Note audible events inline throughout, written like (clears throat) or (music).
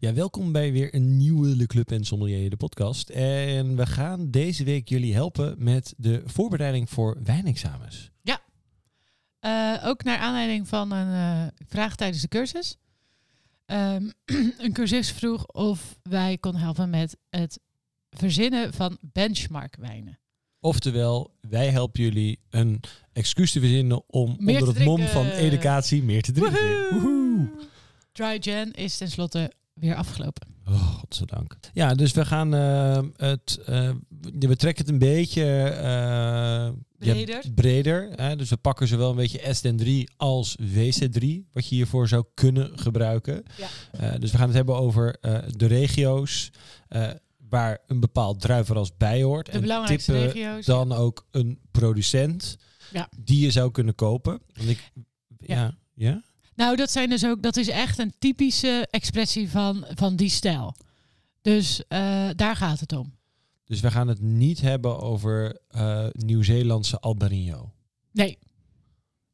Ja, welkom bij weer een nieuwe Le Club en Sommelier, de podcast. En we gaan deze week jullie helpen met de voorbereiding voor wijnexamens. Eh, ook naar aanleiding van een eh, vraag tijdens de cursus. Ehm, (clears throat) een cursist vroeg of wij kon helpen met het verzinnen van benchmarkwijnen. Oftewel, wij helpen jullie een excuus te verzinnen om Meer onder te het mom drinken. van educatie meer te drinken. Woehoe! Woehoe! Dry Gen is tenslotte weer afgelopen. Oh, godzijdank. Ja, dus we gaan eh, het. eh, we trekken het een beetje. eh, Breder. Ja, breder. Hè? Dus we pakken zowel een beetje SDN3 als WC3, wat je hiervoor zou kunnen gebruiken. Ja. Eh, dus we gaan het hebben over eh, de regio's eh, waar een bepaald druivenras bij hoort. De belangrijkste tippen regio's. dan ook een producent Ja. die je zou kunnen kopen. Want ik, ja. Ja. Ja, Nou, dat zijn dus ook, dat is echt een typische expressie van, van die stijl. Dus eh, daar gaat het om. Dus we gaan het niet hebben over eh, Nieuw-Zeelandse Albarino. Nee,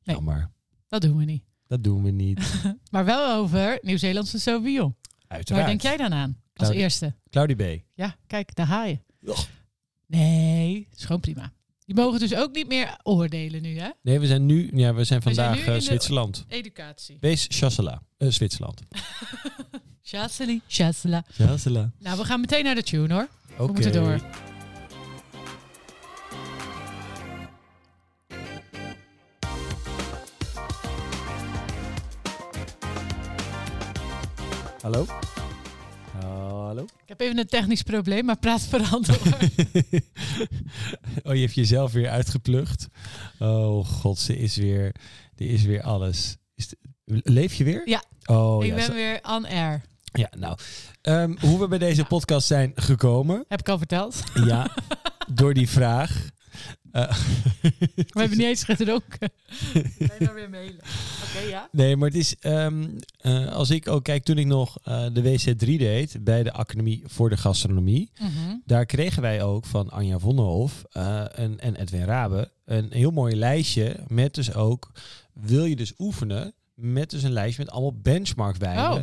Nee. Jammer. dat doen we niet. Dat doen we (laughs) niet. Maar wel over Nieuw-Zeelandse Sauvignon. Uiteraard. Nou, Waar denk jij dan aan? Als Claudia. eerste. Claudie B. Ja, kijk, daar haaien. Och. Nee, is gewoon prima. Die mogen dus ook niet meer oordelen nu, hè? Nee, we zijn nu, ja, we zijn We zijn vandaag nu in eh, de- Zwitserland. Educatie. Wees Chassela. Eh, Zwitserland. Chasseli, chassela. Chassela. Nou, we gaan meteen naar de tune, hoor. Oké. moeten door. Hallo? Hallo? Ik heb even een technisch probleem, maar praat vooral door. (laughs) oh, je hebt jezelf weer uitgeplucht. Oh god, ze is weer, er is weer alles. Is de- leef je weer? Ja. Oh ik ja, ben zo- weer on air. ja, nou. Ehm, hoe we bij deze podcast zijn gekomen. Heb ik al verteld. (laughs) Ja, door die vraag. Eh, We hebben niet eens (laughs) gedronken. Blijf maar weer mailen. Oké, ja. Nee, maar het is, ehm, eh, als ik ook kijk, toen ik nog eh, de WC3 deed bij de Academie voor de Gastronomie, Mhm. daar kregen wij ook van Anja Vonderhof eh, en, en Edwin Rabe een heel mooi lijstje met dus ook, wil je dus oefenen, met dus een lijstje met allemaal benchmarkwijnen. Oh.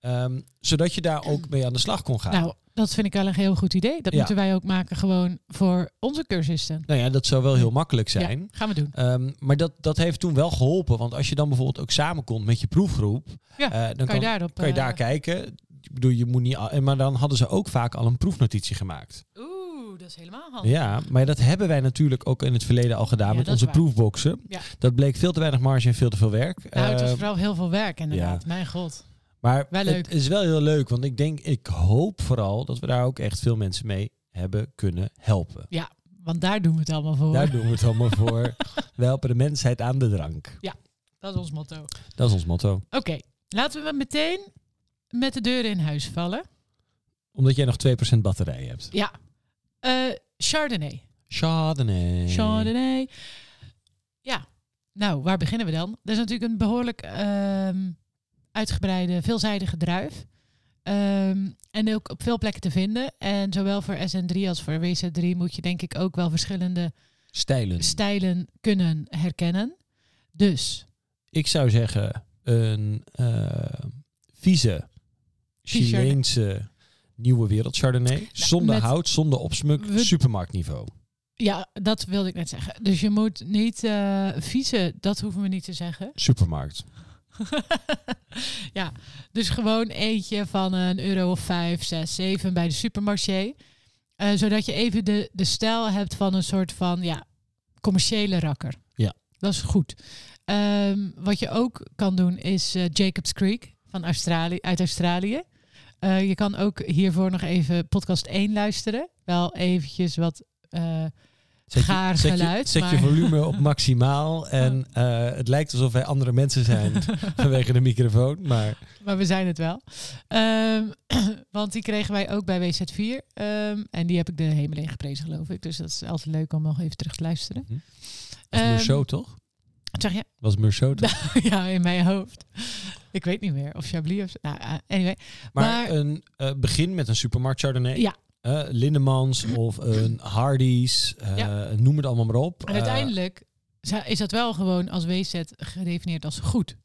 Ehm, zodat je daar ook mee aan de slag kon gaan. Nou. Nou, dat vind ik wel een heel goed idee. Dat Ja. moeten wij ook maken gewoon voor onze cursisten. Nou ja, dat zou wel heel makkelijk zijn. Ja, gaan we doen. Ehm, maar dat, dat heeft toen wel geholpen. Want als je dan bijvoorbeeld ook samenkomt met je proefgroep, Ja, eh, dan Kan, je daarop... kan je daar eh, kijken. Ik bedoel, je moet niet. al- en Maar dan hadden ze ook vaak al een proefnotitie gemaakt. Oeh, dat is helemaal handig. Ja, maar dat hebben wij natuurlijk ook in het verleden al gedaan Ja, met dat is onze waar. proefboxen. Ja. Dat bleek veel te weinig marge en veel te veel werk. Nou, het was Eh, vooral heel veel werk inderdaad. Mijn god. maar wel leuk. het is wel heel leuk, want ik denk, ik hoop vooral dat we daar ook echt veel mensen mee hebben kunnen helpen. Want daar doen we het allemaal voor. Daar doen we het allemaal voor. (laughs) We helpen de mensheid aan de drank. Dat is ons motto. Oké, Dat is ons motto. laten we meteen met de deuren in huis vallen. Omdat jij nog 2% batterij hebt. Ja. Eh, Chardonnay. Chardonnay. Chardonnay. Ja. Nou, waar beginnen we dan? Dat is natuurlijk een behoorlijk ehm, uitgebreide, veelzijdige druif. Ehm, en ook op veel plekken te vinden. En zowel voor SN3 als voor WC3 moet je denk ik ook wel verschillende Stijlen. stijlen kunnen herkennen. Dus ik zou zeggen een eh, vieze Chileense nieuwe wereld Chardonnay. zonder met- hout, zonder opsmuk, We- supermarktniveau. Ja, dat wilde ik net zeggen. Dus je moet niet eh vieze, dat hoeven we niet te zeggen. (laughs) Supermarkt. ja, dus gewoon eentje van een euro of vijf, zes, zeven bij de supermarché. Eh, zodat je even de, de stijl hebt van een soort van ja, commerciële rakker. Ja. Dat is goed. Ehm, wat je ook kan doen is eh, Jacobs Creek van Australië, uit Australië. Eh, je kan ook hiervoor nog even podcast 1 luisteren. Wel eventjes wat... eh, Gaar zet geluid, Je, zet je maar- volume op maximaal. En eh, het lijkt alsof wij andere mensen (laughs) zijn vanwege de microfoon. Maar Maar we zijn het wel. Ehm, (clears throat) want die kregen wij ook bij WZ4. ehm, en die heb ik de hemel in geprezen, geloof ik. Dus dat is altijd leuk om nog even terug te luisteren. Mhm. was Ehm, Meursault toch? wat zeg je? (laughs) Was Meursault toch? ja, in mijn hoofd. Ik weet niet meer. Of Chablis of... Nou, eh, anyway. Maar, maar- een eh, begin met een supermarkt Chardonnay. Ja. Eh, Lindemans of een Hardee's. eh, Ja. Noem het allemaal maar op. Eh, En uiteindelijk za- is dat wel gewoon als WZ gedefinieerd als goed.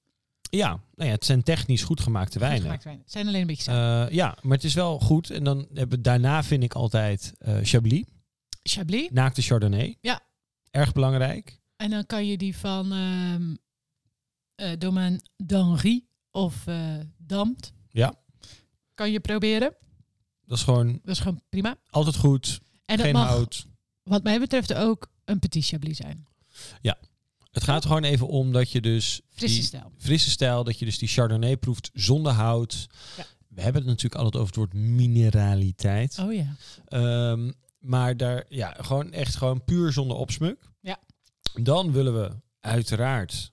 Ja, nou ja, het zijn technisch goed gemaakte Goed wijnen. gemaakt wijn. Zijn alleen een beetje zout. Eh, ja, maar het is wel goed. En dan hebben we- daarna vind ik altijd eh Chablis, Chablis. naakte Chardonnay. Ja. Erg belangrijk. En dan kan je die van ehm eh Domaine d'Henri of eh Dampt. Ja. Kan je proberen. Dat is gewoon Dat is gewoon prima. altijd goed. En dat geen mag, hout. wat mij betreft, ook een petit Chablis zijn. Het gaat er gewoon even om dat je dus Frisse die stijl. frisse stijl, dat je dus die Chardonnay proeft zonder hout. Ja. We hebben het natuurlijk altijd over het woord mineraliteit. Oh ja. Ehm, maar daar, ja, gewoon echt gewoon puur zonder opsmuk. Ja. Dan willen we uiteraard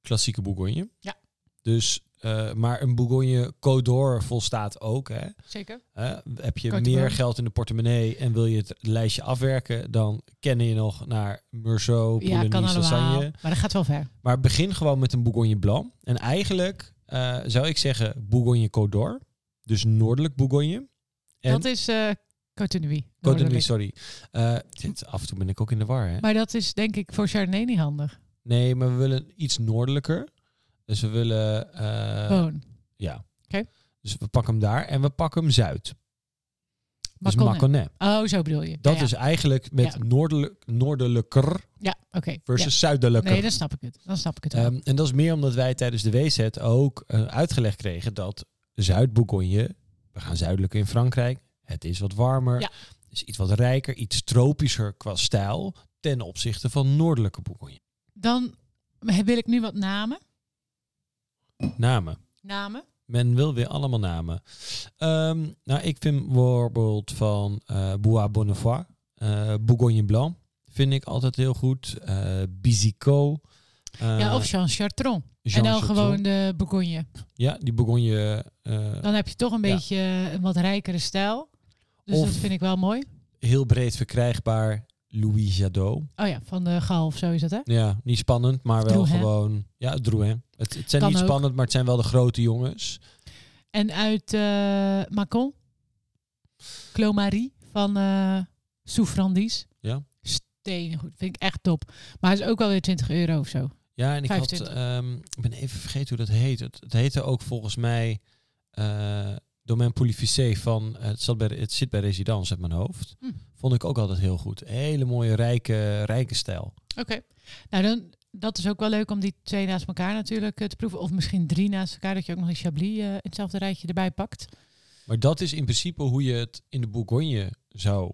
klassieke Bourgogne. Ja. Dus, eh, maar een Bourgogne Codor volstaat ook. Hè. Zeker. Eh, heb je Côte meer d'Ivoire. geld in de portemonnee en wil je het lijstje afwerken, dan kennen je nog naar Meursault, Ja, kan Boulogne, allemaal. Sassagne. Maar dat gaat wel ver. Maar begin gewoon met een Bourgogne Blanc. En eigenlijk eh, zou ik zeggen Bourgogne Codor. Dus noordelijk Bourgogne. En- Dat is eh Côte de Nuit. Côte Noordelijk. sorry. Eh, dit, af en toe ben ik ook in de war, hè? Maar dat is denk ik voor Chardonnay niet handig. Eh, Nee, maar we willen iets noordelijker. Dus we willen... eh, Gewoon. Ja. Oh. Oké. Dus we pakken hem daar en we pakken hem zuid. Dus Macon. Maconnais. Oh, zo bedoel je. Dat ja, ja. is eigenlijk met Ja. noordelijk, noordelijker Ja, oké. versus Ja. zuidelijker. Nee, dan snap ik het. Dan snap ik het wel. Ehm, en dat is meer omdat wij tijdens de WZ ook eh, uitgelegd kregen dat Zuid-Bourgogne, we gaan zuidelijk in Frankrijk, het is wat warmer, Ja. is iets wat rijker, iets tropischer qua stijl ten opzichte van noordelijke Bourgogne. Dan wil ik nu wat namen. Namen. Namen. Men wil weer allemaal namen. Ehm, nou, ik vind bijvoorbeeld van eh Bois Bonnefoy, eh, Bourgogne Blanc, vind ik altijd heel goed. Eh Bizicot. eh, ja, of Jean Chartron. Jean en dan Charton. gewoon de Bourgogne. Ja, die Bourgogne eh, Dan heb je toch een Ja. beetje een wat rijkere stijl. Dus Of- dat vind ik wel mooi. heel breed verkrijgbaar. Louis Jadot. Oh ja, van de Gal of zo is dat, hè? Ja, niet spannend, maar wel Drouin. gewoon. Ja, Drouin. Het, het zijn Kan niet ook. spannend, maar het zijn wel de grote jongens. En uit eh Macon. Clomarie van eh Souffrandis. Ja. Stenen goed. Vind ik echt top. Maar het is ook alweer 20 euro of zo. Ja, en ik had. 25. ehm, ik ben even vergeten hoe dat heet. Het, het heette ook volgens mij. eh Domaine Polyficé van. eh, het, zat bij, het zit bij Residence uit mijn hoofd. Hm. Vond ik ook altijd heel goed. Hele mooie, rijke, rijke stijl. Oké. Nou, dan, dat is ook wel leuk om die twee naast elkaar natuurlijk eh, te proeven. Of misschien drie naast elkaar, dat je ook nog een Chablis eh, in hetzelfde rijtje erbij pakt. Maar dat is in principe hoe je het in de Bourgogne zou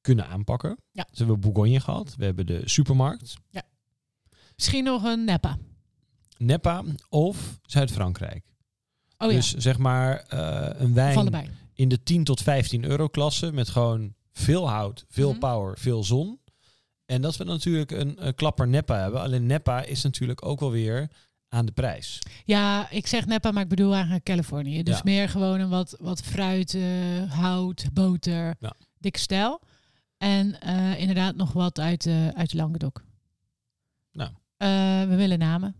kunnen aanpakken. Ja. Dus we hebben Bourgogne gehad. We hebben de supermarkt. Misschien nog een Neppa. Napa of Zuid-Frankrijk. Oh ja, dus zeg maar eh, een wijn van erbij. in de 10 tot 15 euro klasse met gewoon veel hout, veel Mhm. power, veel zon. En dat we natuurlijk een, eh, klapper Neppa hebben. Alleen Neppa is natuurlijk ook wel weer aan de prijs. Ja, ik zeg Neppa, maar ik bedoel eigenlijk Californië. Dus Ja. meer gewoon een wat, wat fruit, eh, hout, boter, Ja. dikke stijl. En eh, inderdaad nog wat uit, eh uit Languedoc. Nou. Eh, we willen namen,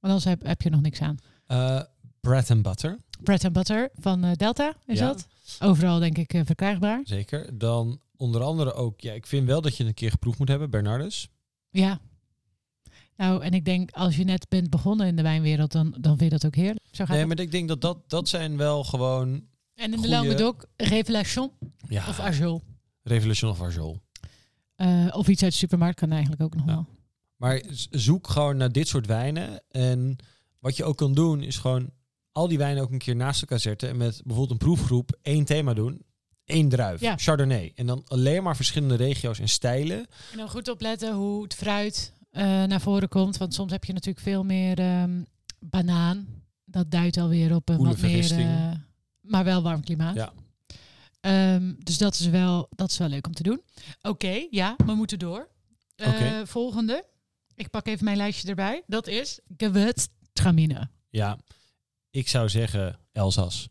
want anders heb, heb je nog niks aan. Eh bread and butter, Bread and Butter van eh, Delta, is Ja. dat? Overal denk ik eh, verkrijgbaar. zeker. Dan onder andere ook, ja, ik vind wel dat je het een keer geproefd moet hebben, Bernardus. Ja. Nou, en ik denk als je net bent begonnen in de wijnwereld, dan, dan vind je dat ook heerlijk. Zo gaat Nee, het. maar ik denk dat dat, dat zijn wel gewoon, En in de goeie- Languedoc, Révélation ja, of Arjol. Revolution of Arjol. Eh, of iets uit de supermarkt kan eigenlijk ook nog Ja. wel. Maar z- zoek gewoon naar dit soort wijnen. En wat je ook kan doen, is gewoon al die wijnen ook een keer naast elkaar zetten. En met bijvoorbeeld een proefgroep één thema doen. Eén druif, Ja. Chardonnay. En dan alleen maar verschillende regio's en stijlen. En dan goed opletten hoe het fruit eh, naar voren komt. Want soms heb je natuurlijk veel meer ehm, banaan. Dat duidt alweer op een Koele wat meer... vergisting. eh, maar wel warm klimaat. Ja. Ehm, dus dat is, wel, dat is wel leuk om te doen. Oké, ja, we moeten door. Eh, Oké. Volgende. Ik pak even mijn lijstje erbij. Dat is gewürztraminer. Ja, ik zou zeggen Elzas.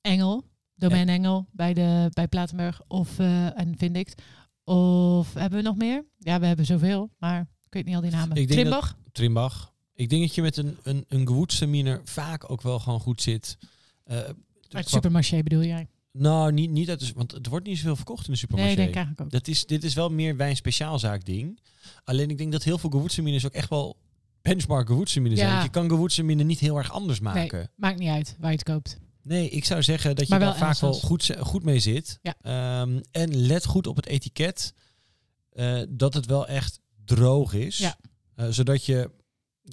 Engel, Domein Engel bij, de, bij Platenburg of eh en Vindict. Of hebben we nog meer? Ja, we hebben zoveel, maar ik weet niet al die namen. Ik denk dat- Trimbach? Trimbach. Ik denk dat je met een, een, een gewoedseminer vaak ook wel gewoon goed zit. Eh, Uit qua- Supermarché bedoel jij? Nou, niet, niet uit de, want het wordt niet zoveel verkocht in de supermarkt. Nee, denk ik eigenlijk ook. Dat is, dit is wel meer wijn speciaalzaak ding. Alleen ik denk dat heel veel gewoedseminers ook echt wel benchmark gewoedsemine Ja. zijn. Want je kan gewoedsemine niet heel erg anders maken. Nee, maakt niet uit waar je het koopt. Nee, ik zou zeggen dat je Maar daar wel vaak wel Elsass. goed, ze- goed mee zit. Ja. Ehm, en let goed op het etiket. eh, dat het wel echt droog is. Ja. Eh, zodat je...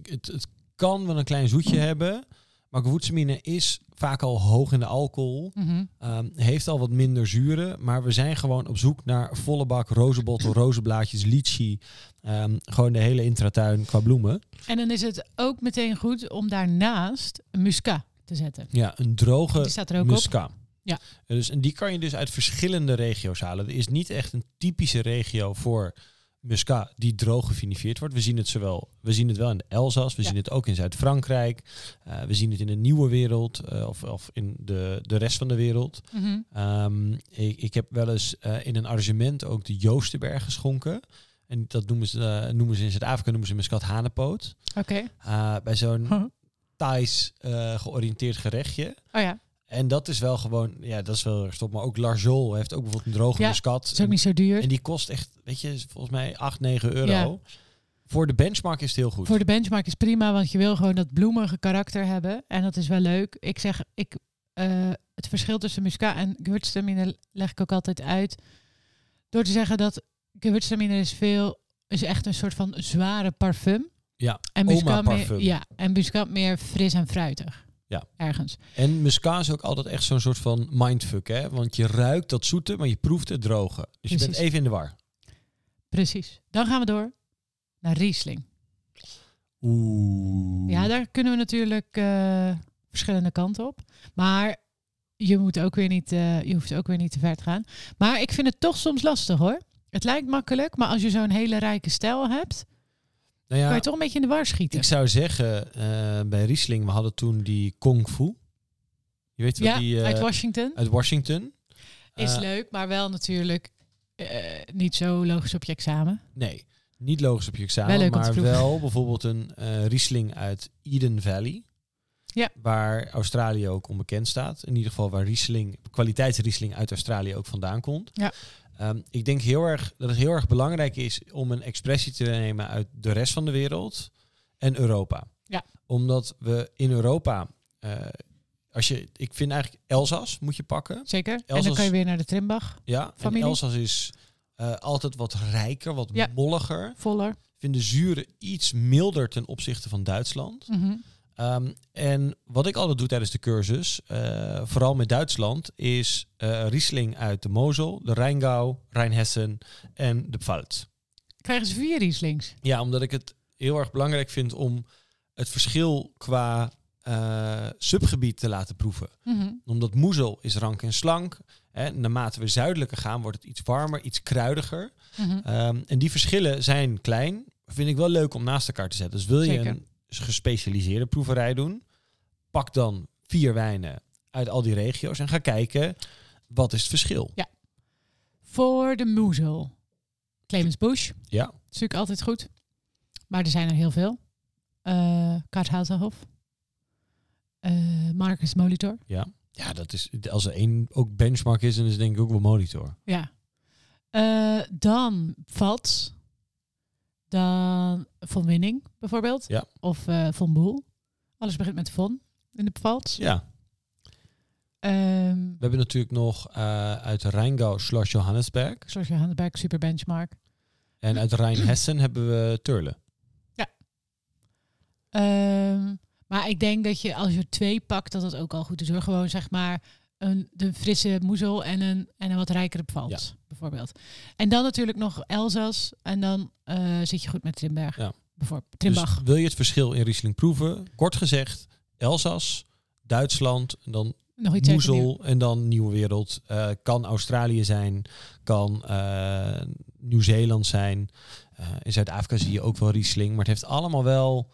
Het, het kan wel een klein zoetje hebben. Maar gewoedsemine is vaak al hoog in de alcohol. Mhm. Ehm, heeft al wat minder zuren. Maar we zijn gewoon op zoek naar volle bak rozenbottel, (clears throat) rozenblaadjes, lychee. Ehm, gewoon de hele intratuin qua bloemen. En dan is het ook meteen goed om daarnaast een musca te zetten. Ja, een droge Die staat er ook op. Musca. Ja. En Dus, en die kan je dus uit verschillende regio's halen. Er is niet echt een typische regio voor Musca die droog gevinifieerd wordt. We zien het, zowel, we zien het wel in de Elzas, we Ja. zien het ook in Zuid-Frankrijk. eh, we zien het in de Nieuwe Wereld eh, of, of in de, de rest van de wereld. Mhm. Ehm, ik, ik heb wel eens eh, in een arrangement ook de Joostenberg geschonken. En dat noemen ze, eh, noemen ze in Zuid-Afrika noemen ze Muscat hanepoot. Oké. Eh, bij zo'n Huh. Thais eh, georiënteerd gerechtje. Oh ja, En dat is wel gewoon, ja, dat is wel erg top. Maar ook Larzol heeft ook bijvoorbeeld een droge Ja, muscat. is ook niet zo duur. En die kost echt, weet je, volgens mij 8, 9 euro. Ja. Voor de benchmark is het heel goed. Voor de benchmark is prima, want je wil gewoon dat bloemige karakter hebben. En dat is wel leuk. Ik zeg, ik, eh, het verschil tussen musca en gewürztraminer leg ik ook altijd uit. Door te zeggen dat gewürztraminer is veel, is echt een soort van zware parfum. Ja, en musca oma-parfum. meer, Ja, en musca meer fris en fruitig. Ja. Ergens. En muscat is ook altijd echt zo'n soort van mindfuck, hè? Want je ruikt dat zoete, maar je proeft het droge. Dus je bent Precies. even in de war. Precies. Dan gaan we door naar Riesling. Oeh. Ja, daar kunnen we natuurlijk eh, verschillende kanten op. Maar je, moet ook weer niet, eh, je hoeft ook weer niet te ver te gaan. Maar ik vind het toch soms lastig hoor. Het lijkt makkelijk, maar als je zo'n hele rijke stijl hebt, nou kan ja, je toch een beetje in de war schieten. ik zou zeggen, eh, bij Riesling, we hadden toen die Kung Fu. Je weet wel, ja, die eh, uit Washington. uit Washington. is Eh, leuk, maar wel natuurlijk eh, niet zo logisch op je examen. Nee, niet logisch op je Wel examen, leuk om te maar proeven. wel bijvoorbeeld een eh, Riesling uit Eden Valley. Ja. Waar Australië ook onbekend staat. In ieder geval waar Riesling, kwaliteitsriesling uit Australië ook vandaan komt. Ja. Ehm, ik denk heel erg, dat het heel erg belangrijk is om een expressie te nemen uit de rest van de wereld en Europa. Ja. Omdat we in Europa, eh, als je, ik vind eigenlijk Elzas moet je pakken. Zeker. en dan Elsass- kan je weer naar de Trimbach. Ja, Familie. en Elzas is eh, altijd wat rijker, wat Ja. molliger Voller. vinden zuren iets milder ten opzichte van Duitsland. Mhm. Ehm, en wat ik altijd doe tijdens de cursus, eh, vooral met Duitsland, is eh, Riesling uit de Mosel, de Rijngau, Rijnhessen en de Pfalz. Krijgen ze vier Rieslings. Ja, omdat ik het heel erg belangrijk vind om het verschil qua eh, subgebied te laten proeven. Mhm. Omdat moezel is rank en slank. Hè, naarmate we zuidelijker gaan, wordt het iets warmer, iets kruidiger. Mhm. Ehm, en die verschillen zijn klein. Vind ik wel leuk om naast elkaar te zetten. Dus wil je Zeker. een gespecialiseerde proeverij doen, pak dan vier wijnen uit al die regio's en ga kijken wat is het verschil. Voor de moezel. Clemens Bush. Ja. Dat is natuurlijk altijd goed. Maar er zijn er heel veel. Eh Karthoutenhof. Eh Marcus Molitor. Ja, dat is als er één ook benchmark is, dan is het denk ik ook wel monitor. Ja. Eh, dan Vats. Dan Von Winning bijvoorbeeld. Ja. Of eh Von Boel. Alles begint met Von in de Vats. Ja, Ehm, we hebben natuurlijk nog eh, uit Rijngau slash Johannesberg zoals Johannesberg, super benchmark. en uit Rijnhessen hebben we Turle. Ehm, maar ik denk dat je als je er twee pakt, dat dat ook al goed is hoor. Gewoon zeg maar een de frisse moezel en een, en een wat rijkere pfalz, bijvoorbeeld. En dan natuurlijk nog Elzas en dan eh, zit je goed met Trimberg. Ja. Bijvoorbeeld Trimbach. Dus wil je het verschil in Riesling proeven? Kort gezegd, Elzas, Duitsland, en dan nog iets tegen die- Moezel en dan Nieuwe Wereld. Eh, kan Australië zijn, kan eh, Nieuw-Zeeland zijn. Eh, in Zuid-Afrika zie je ook wel Riesling. Maar het heeft allemaal wel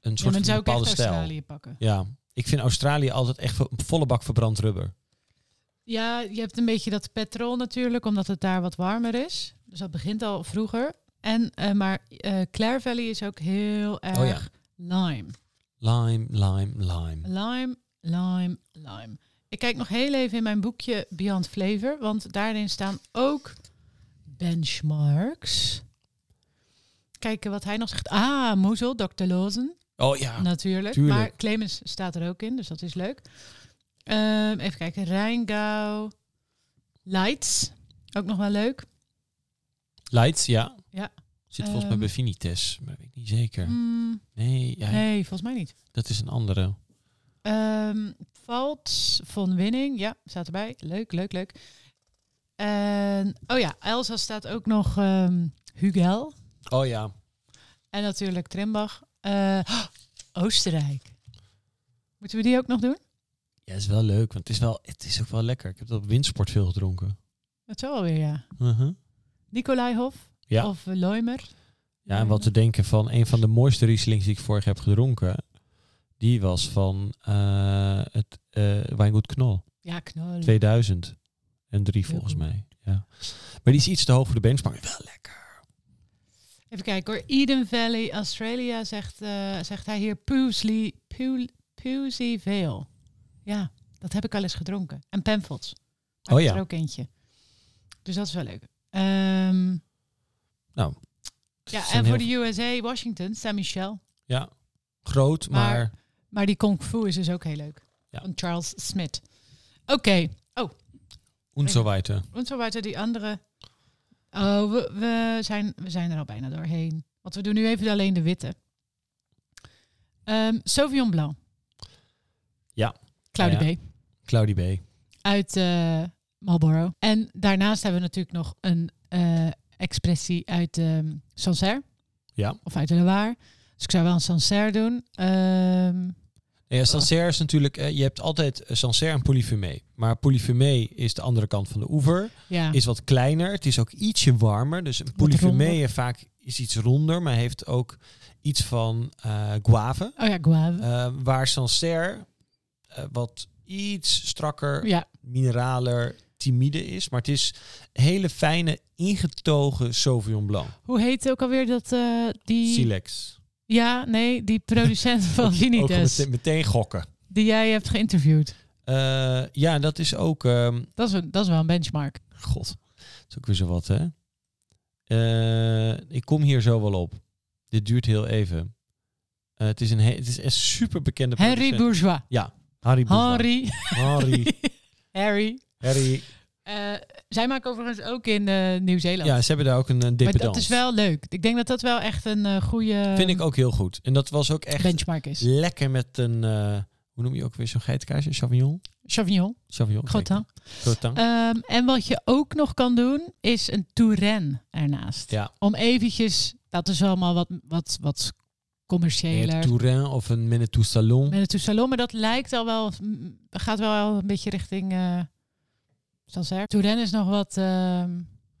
een Ja, soort dan van zou ik bepaalde echt stijl. Australië pakken. Ja, ik vind Australië altijd echt vo- volle bak verbrand rubber. Ja, je hebt een beetje dat petrol natuurlijk, omdat het daar wat warmer is. Dus dat begint al vroeger. En, eh, maar eh Clare Valley is ook heel erg Oh ja. lime. Lime, lime, lime. Lime, lime, lime. Ik kijk nog heel even in mijn boekje Beyond Flavor, want daarin staan ook benchmarks. Kijken wat hij nog zegt. Ah, moezel, Dr. Lozen. Oh ja. natuurlijk. tuurlijk. Maar Clemens staat er ook in, dus dat is leuk. Ehm, even kijken. Rijngau. Lights. Ook nog wel leuk. Lights, ja. Ja. Zit volgens mij Ehm. bij Vinites, maar dat weet ik niet zeker. Hmm, Nee, ja, nee, volgens mij niet. dat is een andere. Ehm Valts van Winning. Ja, staat erbij. Leuk, leuk, leuk. En, oh ja, Elsa staat ook nog ehm Hugel. Oh ja. En natuurlijk Trimbach. Eh, oh, Oostenrijk. Moeten we die ook nog doen? Ja, is wel leuk, want het is, wel, het is ook wel lekker. Ik heb dat op windsport veel gedronken. Dat zou alweer, ja. Mhm. Nicolaihof Ja. of Loimer. Ja, en wat te denken van een van de mooiste Rieslings die ik vorig heb gedronken. Die was van eh, het eh Wijngoed Knol. Ja, knol. 2000 en drie volgens goed. mij. Ja. Maar die is iets te hoog voor de benchmark. Wel lekker. Even kijken hoor. Eden Valley, Australia, zegt, eh, zegt hij hier Poosley, Pool, Poosie Vale. Ja, dat heb ik al eens gedronken. En Penfolds. Daar Oh is ja. Er ook eentje. Dus dat is wel leuk. Ehm, Het ja, is en een voor heel de USA, Washington, San Michel. groot, maar, maar- Maar die Kung Fu is dus ook heel leuk. Ja. Van Charles Smith. Oké, und so weiter. en zo weiter die andere. Oh, we, we, zijn, we zijn er al bijna doorheen. Want we doen nu even alleen de witte. Ehm Sauvignon Blanc. Ja. Claudie Ja. B. Claudie B. Uit eh Marlboro. En daarnaast hebben we natuurlijk nog een eh, expressie uit ehm Sancerre. Ja. Of uit de Loire. Dus ik zou wel een Sancerre doen. Ehm, Ja, Sancerre is natuurlijk, eh, je hebt altijd eh, Sancerre en Polyfumé. Maar Polyfumé is de andere kant van de oever. ja. Is wat kleiner, het is ook ietsje warmer. Dus een Polyfumé ronder. vaak is iets ronder, maar heeft ook iets van eh guave. Oh ja, guave. Eh, waar Sancerre eh, wat iets strakker, ja. mineraler, timide is. Maar het is hele fijne, ingetogen Sauvignon Blanc. Hoe heet ook alweer dat eh, die... Silex. Ja, nee, die producent (laughs) van Ook Vinitas, meteen, meteen gokken. die jij hebt geïnterviewd. Eh, ja, dat is ook... ehm, Dat is, een- dat is wel een benchmark. God, dat is ook weer zo wat, hè? Eh, ik kom hier zo wel op. Dit duurt heel even. Eh, het is een, he- het is een super bekende Henry Bourgeois. Harry Bourgeois. Henry. Harry. (laughs) Harry. Harry. Eh, zij maken overigens ook in eh, Nieuw-Zeeland. Ja, ze hebben daar ook een, een maar dependance. dat is wel leuk. Ik denk dat dat wel echt een eh, goede Vind ik ook heel goed. En dat was ook echt benchmark is. lekker met een... eh, hoe noem je ook weer zo'n geitenkaas? Een Champignon? Chauvignon. Champignon? Goed dan. Grotan. Ehm, en wat je ook nog kan doen, is een Touraine ernaast. Ja. Om eventjes, dat is allemaal wat, wat, wat commerciëler. Een Touraine of een Menetou Salon. Met het salon, maar dat lijkt al wel, mm, gaat wel een beetje richting eh Sancerre. Touraine is nog wat ehm,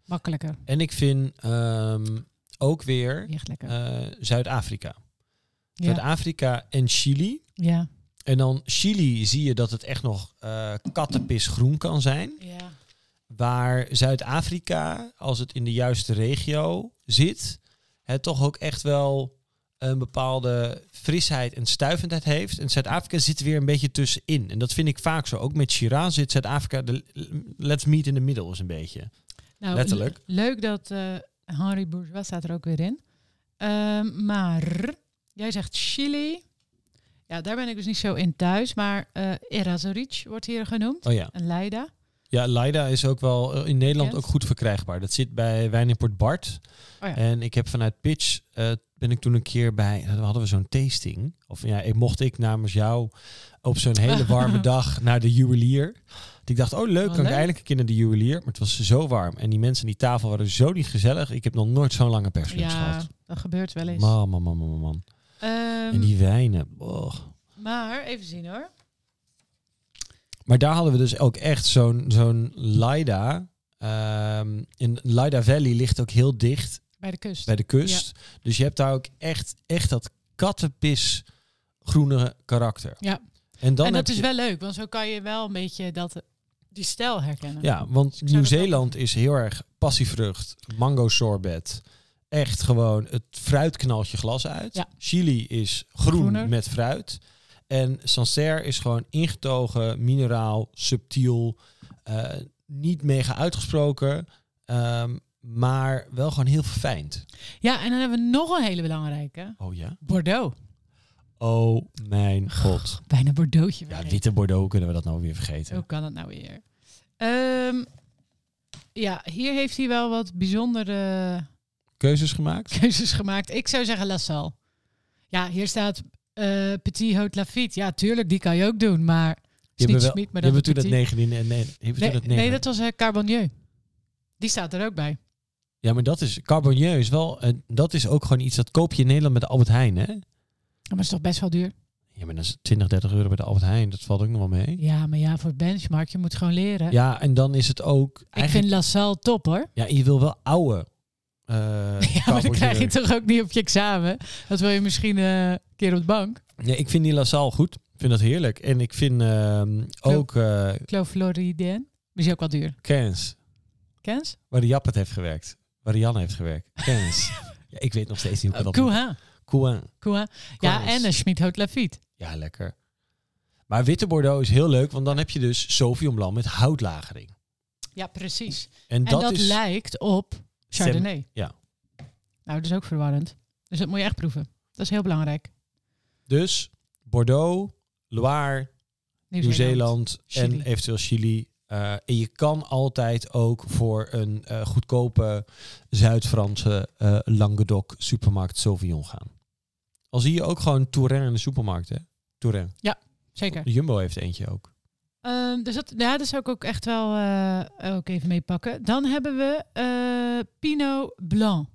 makkelijker. En ik vind ehm, ook weer Die Echt lekker. eh, Zuid-Afrika. ja. Zuid-Afrika en Chili. ja. En dan Chili zie je dat het echt nog eh kattenpisgroen kan zijn. ja. Waar Zuid-Afrika, als het in de juiste regio zit, het toch ook echt wel een bepaalde frisheid en stuivendheid heeft. En Zuid-Afrika zit weer een beetje tussenin. En dat vind ik vaak zo. Ook met Shiraz zit Zuid-Afrika, de, let's meet in the middle is een beetje. Nou, Letterlijk. le- leuk dat eh, Henri Bourgeois staat er ook weer in. Ehm, maar jij zegt Chili. Ja, daar ben ik dus niet zo in thuis. Maar eh Erasuric wordt hier genoemd. Oh ja. En Leida. Ja, Leida is ook wel eh, in Nederland Kent. ook goed verkrijgbaar. Dat zit bij Wijnimport Bart. Oh ja. En ik heb vanuit Pitch eh, ben ik toen een keer bij eh, dan hadden we zo'n tasting. Of ja, ik mocht ik namens jou op zo'n (laughs) hele warme dag naar de juwelier. Want Ik dacht, oh leuk, kan leuk. ik eindelijk een keer naar de juwelier. Maar het was zo warm. En die mensen aan die tafel waren zo niet gezellig. Ik heb nog nooit zo'n lange perslips Ja, gehad. dat gebeurt wel eens. Man, man, man, man, man. Ehm, En die wijnen. oh. Maar even zien hoor. Maar daar hadden we dus ook echt zo'n zo'n Leida. Ehm, in Leida Valley ligt ook heel dicht Bij de kust. bij de kust. Dus je hebt daar ook echt, echt dat kattenpis groene karakter. Ja. En, dan en heb dat is je- wel leuk, want zo kan je wel een beetje dat, eh, die stijl herkennen. Ja, want ik zou dat Nieuw-Zeeland is heel erg passievrucht, mango sorbet. Echt gewoon, het fruit knalt je glas uit. Ja. Chili is groen Groener. met fruit. En Sancerre is gewoon ingetogen, mineraal, subtiel, eh, niet mega uitgesproken. ehm, maar wel gewoon heel verfijnd. Ja, en dan hebben we nog een hele belangrijke. Oh ja? Bordeaux. Oh mijn god. Bijna Bordeauxje. Ja, weer. witte Bordeaux kunnen we dat nou weer vergeten. Hoe kan dat nou weer? Ehm, ja, hier heeft hij wel wat bijzondere (laughs) Keuzes gemaakt? keuzes gemaakt. Ik zou zeggen La Salle. Ja, hier staat eh, Petit Haute Lafitte. Ja, tuurlijk, die kan je ook doen, Je maar... is hebt niet wel- Schmid, maar je dan hebt toen Petit. dat 19... en- Nee, je hebt toen Nee, dat nee, 19. dat was eh Carbonieu. Die staat er ook bij. Ja, maar dat is... Carbonier is wel... en dat is ook gewoon iets dat koop je in Nederland met de Albert Heijn, hè? Maar dat is toch best wel duur? Ja, maar dat is 20, 30 euro bij de Albert Heijn. Dat valt ook nog wel mee. Ja, maar ja, voor benchmark, je moet gewoon leren. Ja, en dan is het ook... ik Eigenlijk, vind La Salle top hoor. Ja, je wil wel oude... eh (laughs) Ja, maar dan krijg je Carbonier. het toch ook niet op je examen. Dat wil je misschien eh, een keer op de bank. Nee, ik vind die LaSalle goed. Ik vind dat heerlijk. En ik vind ehm, ook eh Clos Floriden. Maar is ook wel duur. Cairns, Kens? waar de Jap het heeft gewerkt. Waar de Jan heeft gewerkt. (laughs) Cairns. ja, ik weet nog steeds niet hoe ik dat moet- Koeha. Coin. Koeha. Eh, Ja, en een Schmid Haute Lafitte. Ja, lekker. Maar witte Bordeaux is heel leuk, want dan heb je dus Sauvignon Blanc met houtlagering. Ja, precies. En, En dat, dat, is... lijkt op Chardonnay. ja. Nou, dat is ook verwarrend. Dus dat moet je echt proeven. Dat is heel belangrijk. Dus Bordeaux, Loire, Nieuw-Zeeland en Chili. eventueel Chili. Eh, en je kan altijd ook voor een eh, goedkope Zuid-Franse eh, Languedoc supermarkt Sauvignon gaan. Al zie je ook gewoon Touraine in de supermarkt, hè? Touraine. Zeker. De Jumbo heeft eentje ook. Ehm, dus dat, ja, dat zou ik ook echt wel eh, ook even meepakken. Dan hebben we eh, Pinot Blanc.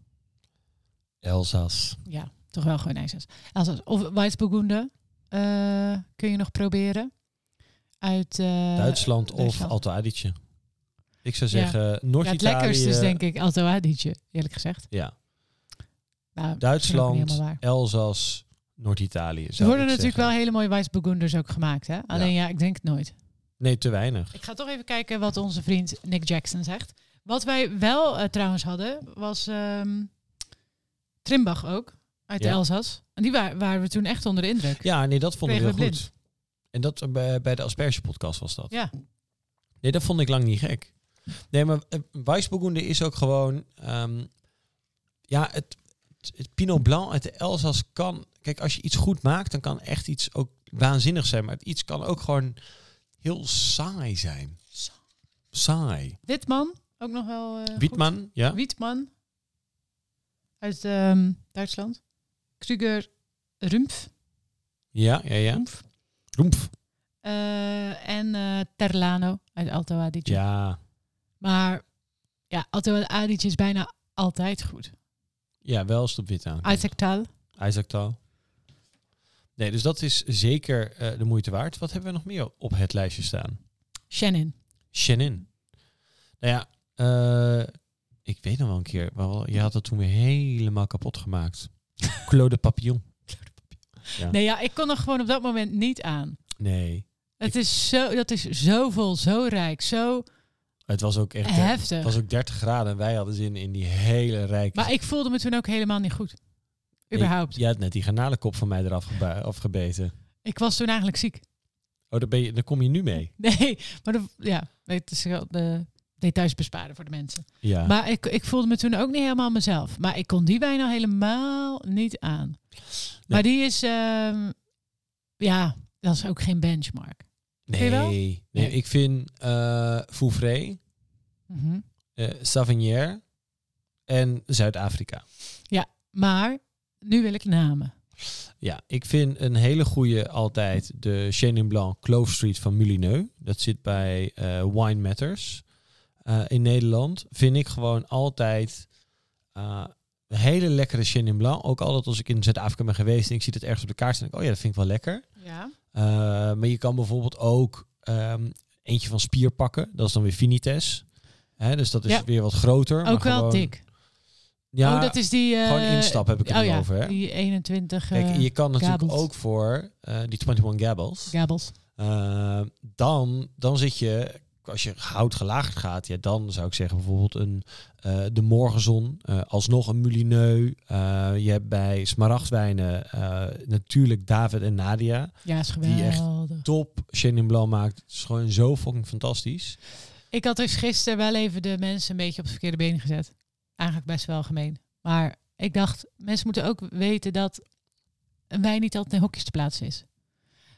Elzas. Ja, toch wel gewoon IJssel's. Elzas. Of Weissburgunde eh, kun je nog proberen. Uit eh, Duitsland of Duitsland. Alto Adige. Ik zou Ja. zeggen Ja, het Noord-Italië. lekkerste is denk ik Alto Adige, eerlijk gezegd. Ja, Nou, vind ik ook niet Duitsland, helemaal waar. Elzas, Noord-Italië. Er worden natuurlijk wel hele mooie Weissburgunders ook gemaakt. Hè? Alleen ja, ik denk het nooit. Nee, te weinig. Ik ga toch even kijken wat onze vriend Nick Jackson zegt. Wat wij wel eh, trouwens hadden, was ehm Trimbach ook, uit Ja. de Elzas. En die wa- waren we toen echt onder de indruk. Ja, nee, dat vond ik heel Kregen we goed. En dat eh, bij, bij de Asperge podcast was dat. Ja. Nee, dat vond ik lang niet gek. Nee, maar eh, Weissburgunde is ook gewoon... ehm, ja, het, het Pinot Blanc uit de Elzas kan... Kijk, als je iets goed maakt, dan kan echt iets ook waanzinnig zijn. Maar het iets kan ook gewoon heel saai zijn. Saai. Saai. Witman, ook nog wel... eh, goed. Wietman, ja? Wietman, uit ehm, Duitsland. Kruger Rumpf. Ja, ja, ja. Rumpf. Roemf. Eh, en eh, Terlano, uit Alto Adige. Ja. Maar ja, Alto Adige is bijna altijd goed. Ja, wel als het op wit aan. Isaac Tal. Isaac Tal. Nee, dus dat is zeker eh, de moeite waard. Wat hebben we nog meer op het lijstje staan? Shannon. Shannon. Nou ja, eh, ik weet nog wel een keer. Wel, je had dat toen weer helemaal kapot gemaakt. (laughs) Claude de Papillon. Nee, ja, ik kon er gewoon op dat moment niet aan. Nee, Het is zo, dat is zo vol, zo rijk, zo het was ook echt... eh, Het heftig. was ook 30 graden en wij hadden zin in die hele rijke... Maar ik voelde me toen ook helemaal niet goed. Nee, Überhaupt. Je had net die garnalenkop van mij eraf geba- afgebeten. Ik was toen eigenlijk ziek. Oh, daar, ben je, daar kom je nu mee. (laughs) Nee, maar dat- ja, nee, het is wel de details besparen voor de mensen. Ja. Maar ik, ik voelde me toen ook niet helemaal mezelf. Maar ik kon die wijn al helemaal niet aan. Maar die is, ehm, ja, dat is ook geen benchmark. nee, Vind je wel? nee, Nee. ik vind eh Fouvré... Mhm. eh Savignier en Zuid-Afrika. Maar nu wil ik namen. Ja, ik vind een hele goede altijd de Chenin Blanc Clove Street van Mulineux. Dat zit bij eh, Wine Matters eh, in Nederland. Vind ik gewoon altijd eh, een hele lekkere Chenin Blanc. Ook altijd als ik in Zuid-Afrika ben geweest en ik zie dat ergens op de kaart staan. denk ik, Oh ja, dat vind ik wel lekker. Ja. Eh, maar je kan bijvoorbeeld ook ehm, eentje van Spier pakken. Dat is dan weer Vinites. Hè, dus dat is Ja. weer wat groter. maar Ook wel gewoon- dik. Ja, oh, dat is die... eh, gewoon instap heb ik het oh nu ja, over. Hè? die 21 eh, Kijk, je kan natuurlijk Gabels. ook voor eh, die 21 Gabbles. gabels. Eh, dan, dan zit je, als je hout gelagerd gaat, ja, dan zou ik zeggen bijvoorbeeld een eh, de Morgenzon, eh, alsnog een Mulineux. Eh, je hebt bij Smaragdwijnen eh, natuurlijk David en Nadia. Ja, is Die echt- geweldig. Top, Chenin Blanc maakt. Het is gewoon zo fucking fantastisch. Ik had dus gisteren wel even de mensen een beetje op het verkeerde been gezet. eigenlijk best wel gemeen. Maar ik dacht, mensen moeten ook weten dat een wijn niet altijd in hokjes te plaatsen is.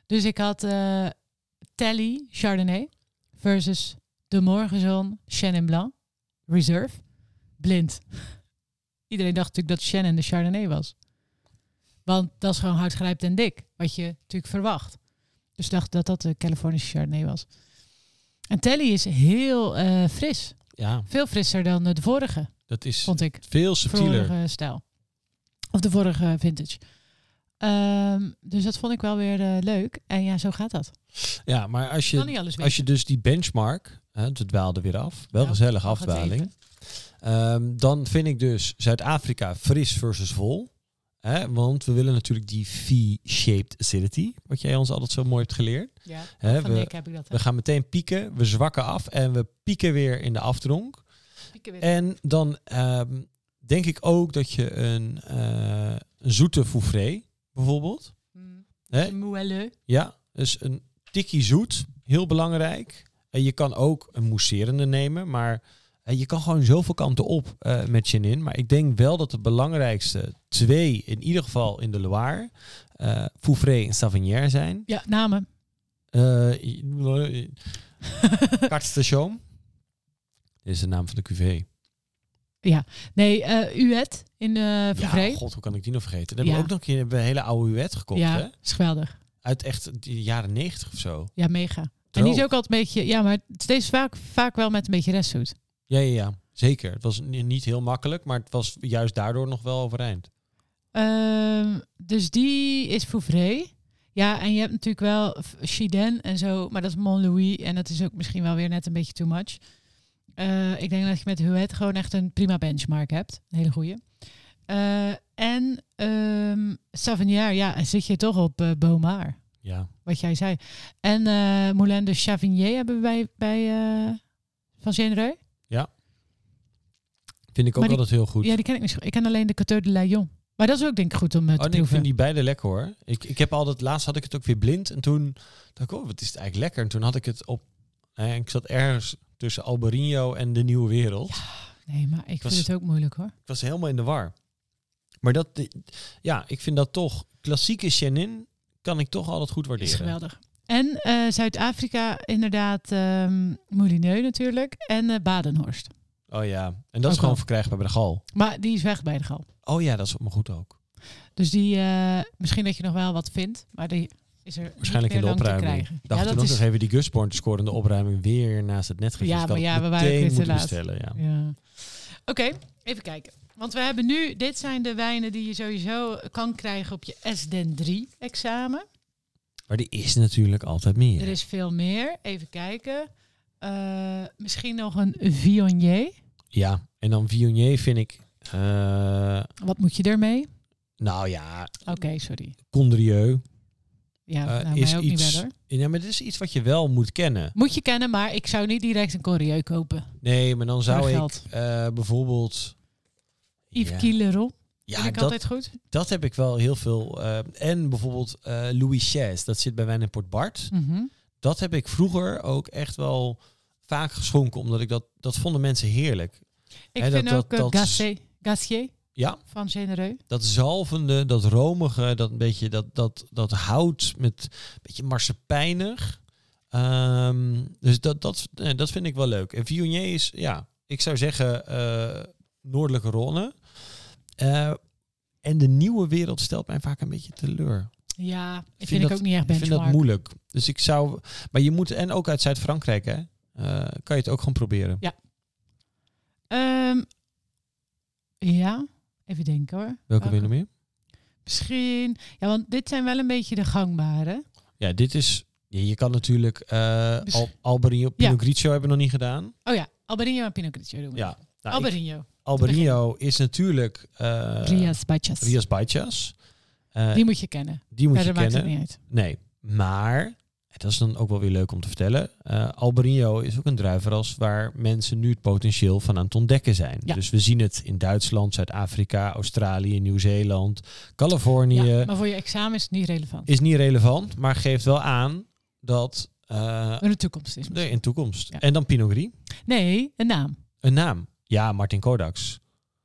Dus ik had eh Telly Chardonnay versus De Morgenzon Chenin Blanc Reserve blind. (laughs) Iedereen dacht natuurlijk dat Chenin de Chardonnay was. Want dat is gewoon hardgrijpt en dik, wat je natuurlijk verwacht. Dus ik dacht dat dat de Californische Chardonnay was. En Telly is heel eh, fris. Ja, Veel frisser dan eh, de vorige dat is vond ik. veel Subtieler. subtieler. Vorige stijl. Of de vorige vintage. Ehm, dus dat vond ik wel weer eh, leuk. En ja, zo gaat dat. Ja, maar als Je kan je, niet alles weten. als je dus die benchmark, hè, we dwaalden weer af, wel Ja, gezellig mag het afdwaling. even. Ehm, dan vind ik dus Zuid-Afrika fris versus vol. Hè? Want we willen natuurlijk die V-shaped acidity, wat jij ons altijd zo mooi hebt geleerd. Ja, Hè? van We, Nick heb ik dat. hè. we gaan meteen pieken, we zwakken af en we pieken weer in de afdronk. Pieken weer. En dan ehm, denk ik ook dat je een, eh, een zoete foufré bijvoorbeeld. Mm. Hè? Moelleux. Ja, dus een tikkie zoet, heel belangrijk. En je kan ook een mousserende nemen, maar eh, je kan gewoon zoveel kanten op eh, met Chenin. Maar ik denk wel dat de belangrijkste twee, in ieder geval in de Loire, eh Foufré en Savignaire zijn. Ja, namen. (laughs) Eh Kartstation. Dit is de naam van de cuvée. Nee, eh Uet in eh Ja, Vervree. god, hoe kan ik die nog vergeten? Daar hebben Ja. we ook nog een keer hebben we een hele oude huet gekocht, hè? is geweldig. Uit echt de jaren negentig of zo. Ja, mega. En Droog. die is ook altijd een beetje... Ja, maar het is deze vaak, vaak wel met een beetje restzoet. Ja, ja, ja, zeker. Het was ni- niet heel makkelijk, maar het was juist daardoor nog wel overeind. Ehm, dus die is Fouvray. Ja, en je hebt natuurlijk wel F- Chiden en zo, maar dat is Montlouis en dat is ook misschien wel weer net een beetje too much. Eh, ik denk dat je met Huet gewoon echt een prima benchmark hebt. Een hele goeie. Eh, en ehm Savignaar, ja, en zit je toch op eh Beaumar, Ja, wat jij zei. En eh, Moulin de Chavigny hebben we bij, bij eh, Van Genreux. vind ik ook Maar die- altijd heel goed. Ja, die ken ik niet zo goed. Ik ken alleen de Coteur de Lyon. Maar dat is ook denk ik goed om eh, oh, te nee, ik proeven. vind die beide lekker hoor. Ik, ik heb altijd, laatst had ik het ook weer blind en toen dacht ik, oh, wat is het eigenlijk lekker? En toen had ik het op, en ik zat ergens tussen Albarino en de Nieuwe Wereld. Nee, maar ik was- vind het ook moeilijk hoor. Ik was helemaal in de war. Maar dat, ja, ik vind dat toch, klassieke Chenin kan ik toch altijd goed waarderen. Is geweldig. En eh, Zuid-Afrika, inderdaad, ehm Moulineux natuurlijk. En eh, Badenhorst. Oh ja, en dat Ook is gewoon wel. verkrijgbaar bij de gal. Maar die is weg bij de gal. Oh ja, dat is maar goed ook. Dus die, eh, misschien dat je nog wel wat vindt, maar die is er Waarschijnlijk in niet de meer lang te opruiming. krijgen. Dacht ja, toen dat ook is, nog even die Gusborn te scoren in de opruiming weer naast het net gezet. Ja, Ik had maar ja, het we waren ook meteen weer te moeten laat. bestellen, ja. ja. Oké, even kijken. Want we hebben nu, dit zijn de wijnen die je sowieso kan krijgen op je SDEN 3 examen. Maar die is natuurlijk altijd meer. Er is veel meer. Even kijken. Eh, misschien nog een Viognier. Ja, en dan Viognier vind ik... eh, Wat moet je ermee? nou ja, Oké, sorry. Condrieu. Ja, Eh, nou, is mij ook niet iets- verder. Ja, maar dit is iets wat je wel moet kennen. Moet je kennen, maar ik zou niet direct een Corrieu kopen. Nee, maar dan Voor zou ik geld. eh, bijvoorbeeld... Yves ja, Killeron ja, vind ik dat, altijd goed. dat heb ik wel heel veel. eh, en bijvoorbeeld eh, Louis Chais, dat zit bij Wijn in Port Bart. Mhm. dat heb ik vroeger ook echt wel vaak geschonken, omdat ik dat, dat vonden mensen heerlijk. Hè, Ik dat- vind dat- ook eh, dat- Gassier, Gassier Ja, van Genereux. dat zalvende, dat romige, dat beetje dat, dat, dat hout met een beetje marsepijnig. Ehm, dus dat, dat, eh, dat vind ik wel leuk. En Viognier is, ja, ik zou zeggen eh, noordelijke Rhône. Eh, en de nieuwe wereld stelt mij vaak een beetje teleur. Ja, ik vind, vind ik dat- ook niet echt Ik vind dat benchmark. moeilijk. Dus ik zou, maar je moet, en ook uit Zuid-Frankrijk, hè, eh, kan je het ook gewoon proberen. Ehm, ja, even denken hoor. Welke wil je nog meer? Misschien. Ja, want dit zijn wel een beetje de gangbare. Ja, dit is. ja, Je kan natuurlijk eh Dus- Al Albarino Pinot Grigio hebben we nog niet gedaan. Oh ja, Albarino en Pinot Grigio doen we. Ja. Nou, ik- Albarino. Albarino is natuurlijk eh Rias Bachas. Rias Baixas. Eh, Die moet je kennen. die moet je Verder maakt het kennen. niet uit. Nee, maar en dat is dan ook wel weer leuk om te vertellen. eh, Albarino is ook een druivenras waar mensen nu het potentieel van aan het ontdekken zijn. Ja. Dus we zien het in Duitsland, Zuid-Afrika, Australië, Nieuw-Zeeland, Californië. Ja, maar voor je examen is het niet relevant. Is niet relevant, maar geeft wel aan dat eh, Maar de toekomst is. Nee, in toekomst. Ja. En dan Pinot Gris. Nee, een naam. Een naam. Ja, Martin Kodaks.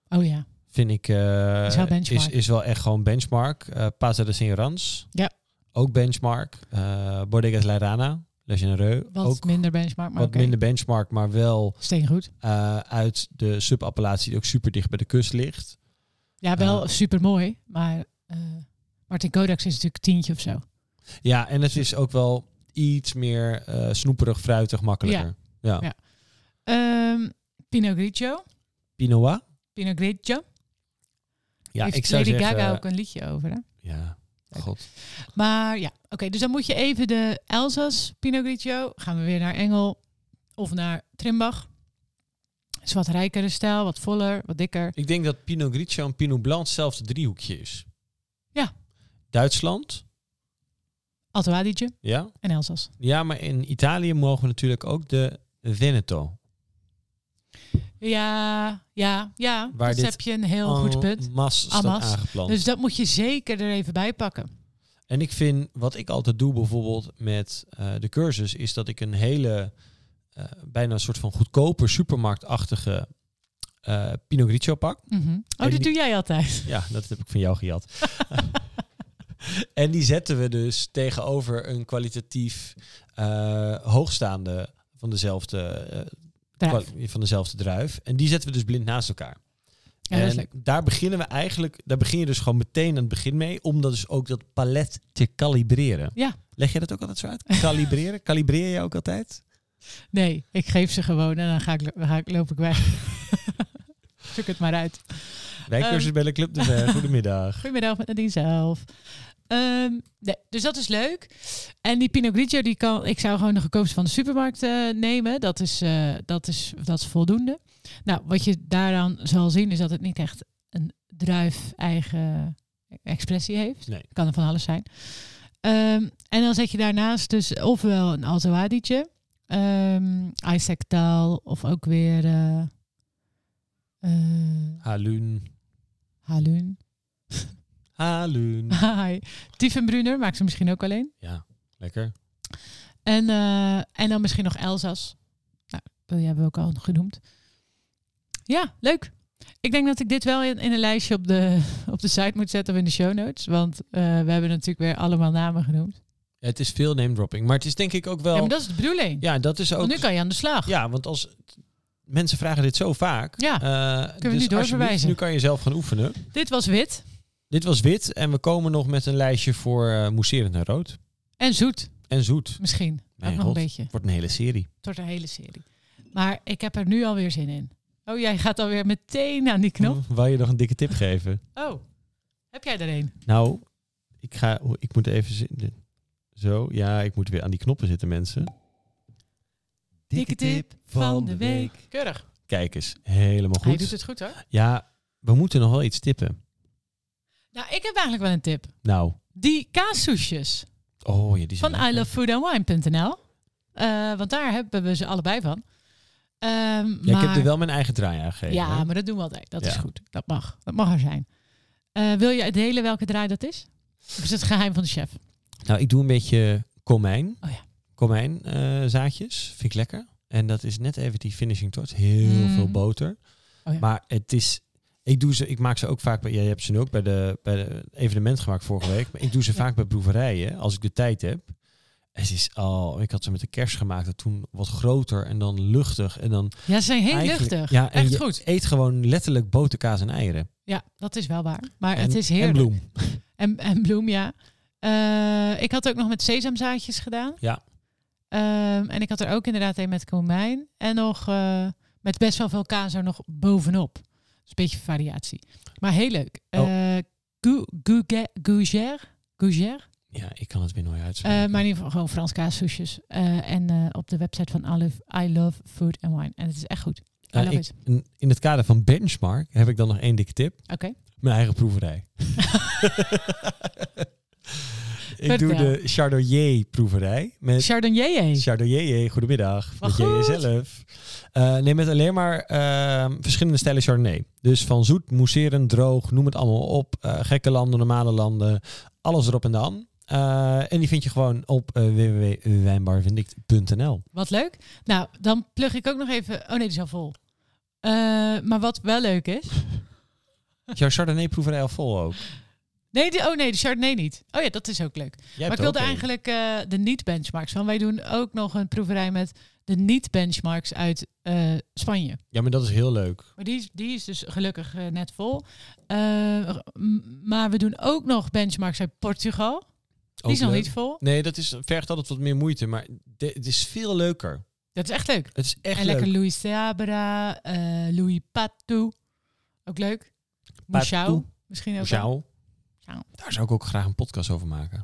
Oh ja. vind ik, eh, Is wel benchmark. is, is wel echt gewoon benchmark. Eh Pasa de Signorans, Ja. ook benchmark. Eh Bodegas La Rana, Le Genereux, Wat ook minder benchmark, maar wat oké. minder benchmark, maar wel Steengoed. eh, uit de subappelatie die ook super dicht bij de kust ligt. Ja, wel Eh. super mooi. Maar eh, Martin Kodaks is natuurlijk tientje of zo. Ja, en het is ook wel iets meer eh, snoeperig, fruitig, makkelijker. Ja. Ja. Ehm Pinot Grigio. Pinot Pinot Grigio. Ja, Heeft ik zou Lady zeggen... Gaga ook een liedje over. Hè? Ja, god. Maar ja, oké. dus dan moet je even de Elzas Pinot Grigio. Gaan we weer naar Engel of naar Trimbach. Is wat rijkere stijl, wat voller, wat dikker. Ik denk dat Pinot Grigio en Pinot Blanc hetzelfde driehoekje is. Ja. Duitsland, Alto Adige ja. en Elzas. Ja, maar in Italië mogen we natuurlijk ook de Veneto. Ja, ja, ja. Waar dit dus Oh, heb je een heel goed punt. Mas staat Amas. aangeplant. Dus dat moet je zeker er even bij pakken. En ik vind, wat ik altijd doe bijvoorbeeld met eh, de cursus, is dat ik een hele, eh, bijna een soort van goedkope supermarktachtige eh Pinot Grigio pak. Mhm. En Oh, die- dat doe jij altijd. Ja, dat heb ik van jou gejat. (laughs) en die zetten we dus tegenover een kwalitatief eh, hoogstaande van dezelfde, eh, Druif. kwa- van dezelfde druif. En die zetten we dus blind naast elkaar. Ja, dat is en leuk. daar beginnen we eigenlijk, daar begin je dus gewoon meteen aan het begin mee, om dat dus ook dat palet te kalibreren. Ja. Leg jij dat ook altijd zo uit? (laughs) Kalibreren? Kalibreer je ook altijd? Nee, ik geef ze gewoon en dan ga ik, lo- ga ik, loop ik weg. (laughs) Zoek het maar uit. Wij Ehm. cursus bij de Club de (laughs) Ver. Goedemiddag. Goedemiddag met Nadine zelf. Ehm, nee, dus dat is leuk. En die Pinot Grigio, die kan, ik zou gewoon de goedkoopste van de supermarkt eh, nemen. Dat is, eh, dat, is, dat is voldoende. Nou, wat je daaraan zal zien is dat het niet echt een druif-eigen expressie heeft. Nee. Kan er van alles zijn. Ehm, en dan zet je daarnaast dus ofwel een Alto Adige, ehm Isaac Taal of ook weer eh eh, Halun. Halun. Halun. (laughs) Hi. Tiefenbrunner maakt ze misschien ook alleen. Ja, lekker. En, eh, en dan misschien nog Elzas. Nou, die hebben we ook al genoemd. Ja, leuk. Ik denk dat ik dit wel in, in een lijstje op de, (laughs) op de site moet zetten of in de show notes. Want eh, we hebben natuurlijk weer allemaal namen genoemd. Ja, het is veel name dropping, maar het is denk ik ook wel. Ja, maar dat is de bedoeling. Ja, dat is ook. Want nu kan je aan de slag. Ja, want als mensen vragen dit zo vaak. Ja, eh, we nu dus doorverwijzen. alsjeblieft, Nu kan je zelf gaan oefenen. Dit was wit Dit was wit en we komen nog met een lijstje voor eh mousserend en rood en zoet en zoet. misschien. Mijn ook nog god. een beetje. Wordt een hele serie. Tot de hele serie. Maar ik heb er nu alweer zin in. Oh, jij gaat alweer meteen aan die knop. Hm, Wou je nog een dikke tip geven? Oh, heb jij er een? Nou, ik ga. oh, Ik moet even zi- zo. Ja, ik moet weer aan die knoppen zitten, mensen. Dikke tip van de week. Keurig. Kijk eens, helemaal Hij doet goed. het goed hoor. Ja, we moeten nog wel iets tippen. Nou, ik heb eigenlijk wel een tip. Nou, die. Kaassoesjes Oh, ja, die zijn van lekker. ilovefoodandwine.nl. Eh want daar hebben we ze allebei van. Ehm, Ja, maar, ik heb er wel mijn eigen draai aan gegeven. hè? ja, maar dat doen we altijd. Dat Ja. is goed. Dat mag. Dat mag er zijn. Eh, wil je delen welke draai dat is? Of is het het geheim van de chef? Nou, ik doe een beetje komijn. Oh ja. Komijn eh, zaadjes. Vind ik lekker. En dat is net even die finishing touch. Heel Mm. veel boter. Oh ja. Maar het is... Ik, doe ze, ik maak ze ook vaak bij... Jij hebt ze nu ook bij de, bij de evenement gemaakt vorige week. Maar ik doe ze Ja. vaak bij proeverijen. Als ik de tijd heb. Het is al... ik had ze met de kerst gemaakt. Dat toen wat groter en dan luchtig. En dan Ja, ze zijn heel eigenlijk- luchtig. Ja, en Echt je goed. eet gewoon letterlijk boterkaas en eieren. Ja, dat is wel waar. Maar en, het is en heerlijk. bloem. En, en bloem, ja. Eh, ik had ook nog met sesamzaadjes gedaan. Ja. Ehm, en ik had er ook inderdaad een met komijn. En nog eh, met best wel veel kaas er nog bovenop. Dus een beetje variatie. Maar heel leuk. Oh. Eh gou- gouge- Gougère. Gougère. Ja, ik kan het weer nooit Eh, uitspreken. maar in ieder geval gewoon Frans kaassoesjes. Eh, en eh, op de website van I Love, I Love Food and Wine. En het is echt goed. I Eh, love ik- it. in- in het kader van benchmark heb ik dan nog één dikke tip. Oké. Mijn eigen proeverij. (laughs) ik doe Vertel. de Chardonnay proeverij met Chardonnay. hè? Chardonnay. Goedemiddag. Wat met jij goed. zelf. Eh, nee, met alleen maar ehm, verschillende stijlen Chardonnay. Dus van zoet, mousserend, droog, noem het allemaal op. Eh, gekke landen, normale landen, alles erop en dan. Eh, en die vind je gewoon op eh, www.wijnbarvindict.nl. Wat leuk. Nou, dan plug ik ook nog even. Oh nee, die is al vol. Eh, maar wat wel leuk is, Is Jouw Chardonnay-proeverij al vol ook. Nee, de, oh nee, de Chardonnay niet. Oh ja, dat is ook leuk. Jij maar hebt ik wilde ook een. eigenlijk eh, de niet-benchmarks. Want wij doen ook nog een proeverij met de niet-benchmarks uit eh, Spanje. Ja, maar dat is heel leuk. Maar die is, die is dus gelukkig eh, net vol. Eh, m- maar we doen ook nog benchmarks uit Portugal. Die Ook is nog leuk. niet vol. Nee, dat is, vergt altijd wat meer moeite. Maar de- het is veel leuker. Dat is echt leuk. Het is echt en leuk. lekker Louis Seabra, eh, Louis Patou. Ook leuk. Mouchou. Patou. Misschien ook. wel. Mouchau. Mouchau. Daar zou ik ook graag een podcast over maken.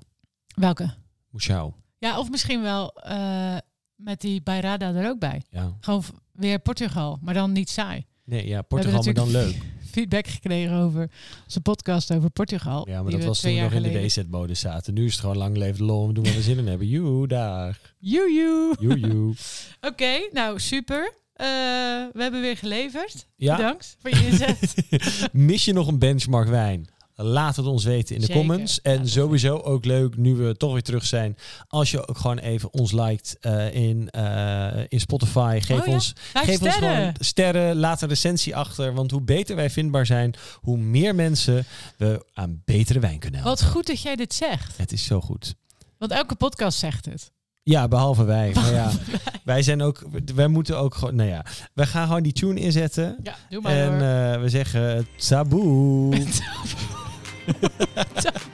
Welke? Mouchau. Ja, of misschien wel eh, met die Bayrada er ook bij. Ja. Gewoon v- weer Portugal, maar dan niet saai. Nee, ja, We hebben Portugal, maar dan leuk. natuurlijk (laughs) Feedback gekregen over onze podcast over Portugal. Ja, maar die dat we was toen twee we nog jaar in de geleden- WZ-modus zaten. Nu is het gewoon lang leven de lol. We doen waar we zin in hebben. Joe, dag. Joejoe. Joe, joe. (laughs) Oké, nou super. Eh, we hebben weer geleverd. Ja, Bedankt voor (laughs) je inzet. mis je nog een benchmark wijn? Laat het ons weten in de Zeker. comments. Ja, En dat is sowieso ook leuk, nu we toch weer terug zijn, als je ook gewoon even ons liked eh, in, eh, in Spotify. Geef Oh ja, ons Vijf Geef ons sterren. gewoon sterren, laat een recensie achter. Want hoe beter wij vindbaar zijn, hoe meer mensen we aan betere wijn kunnen helpen. Wat goed dat jij dit zegt. Het is zo goed. Want elke podcast zegt het. Ja, behalve wij. Maar (laughs) ja, wij zijn ook, wij moeten ook gewoon, nou ja, wij gaan gewoon die tune inzetten. Ja, doe maar En hoor. (laughs) eh, we zeggen taboe. Taboe.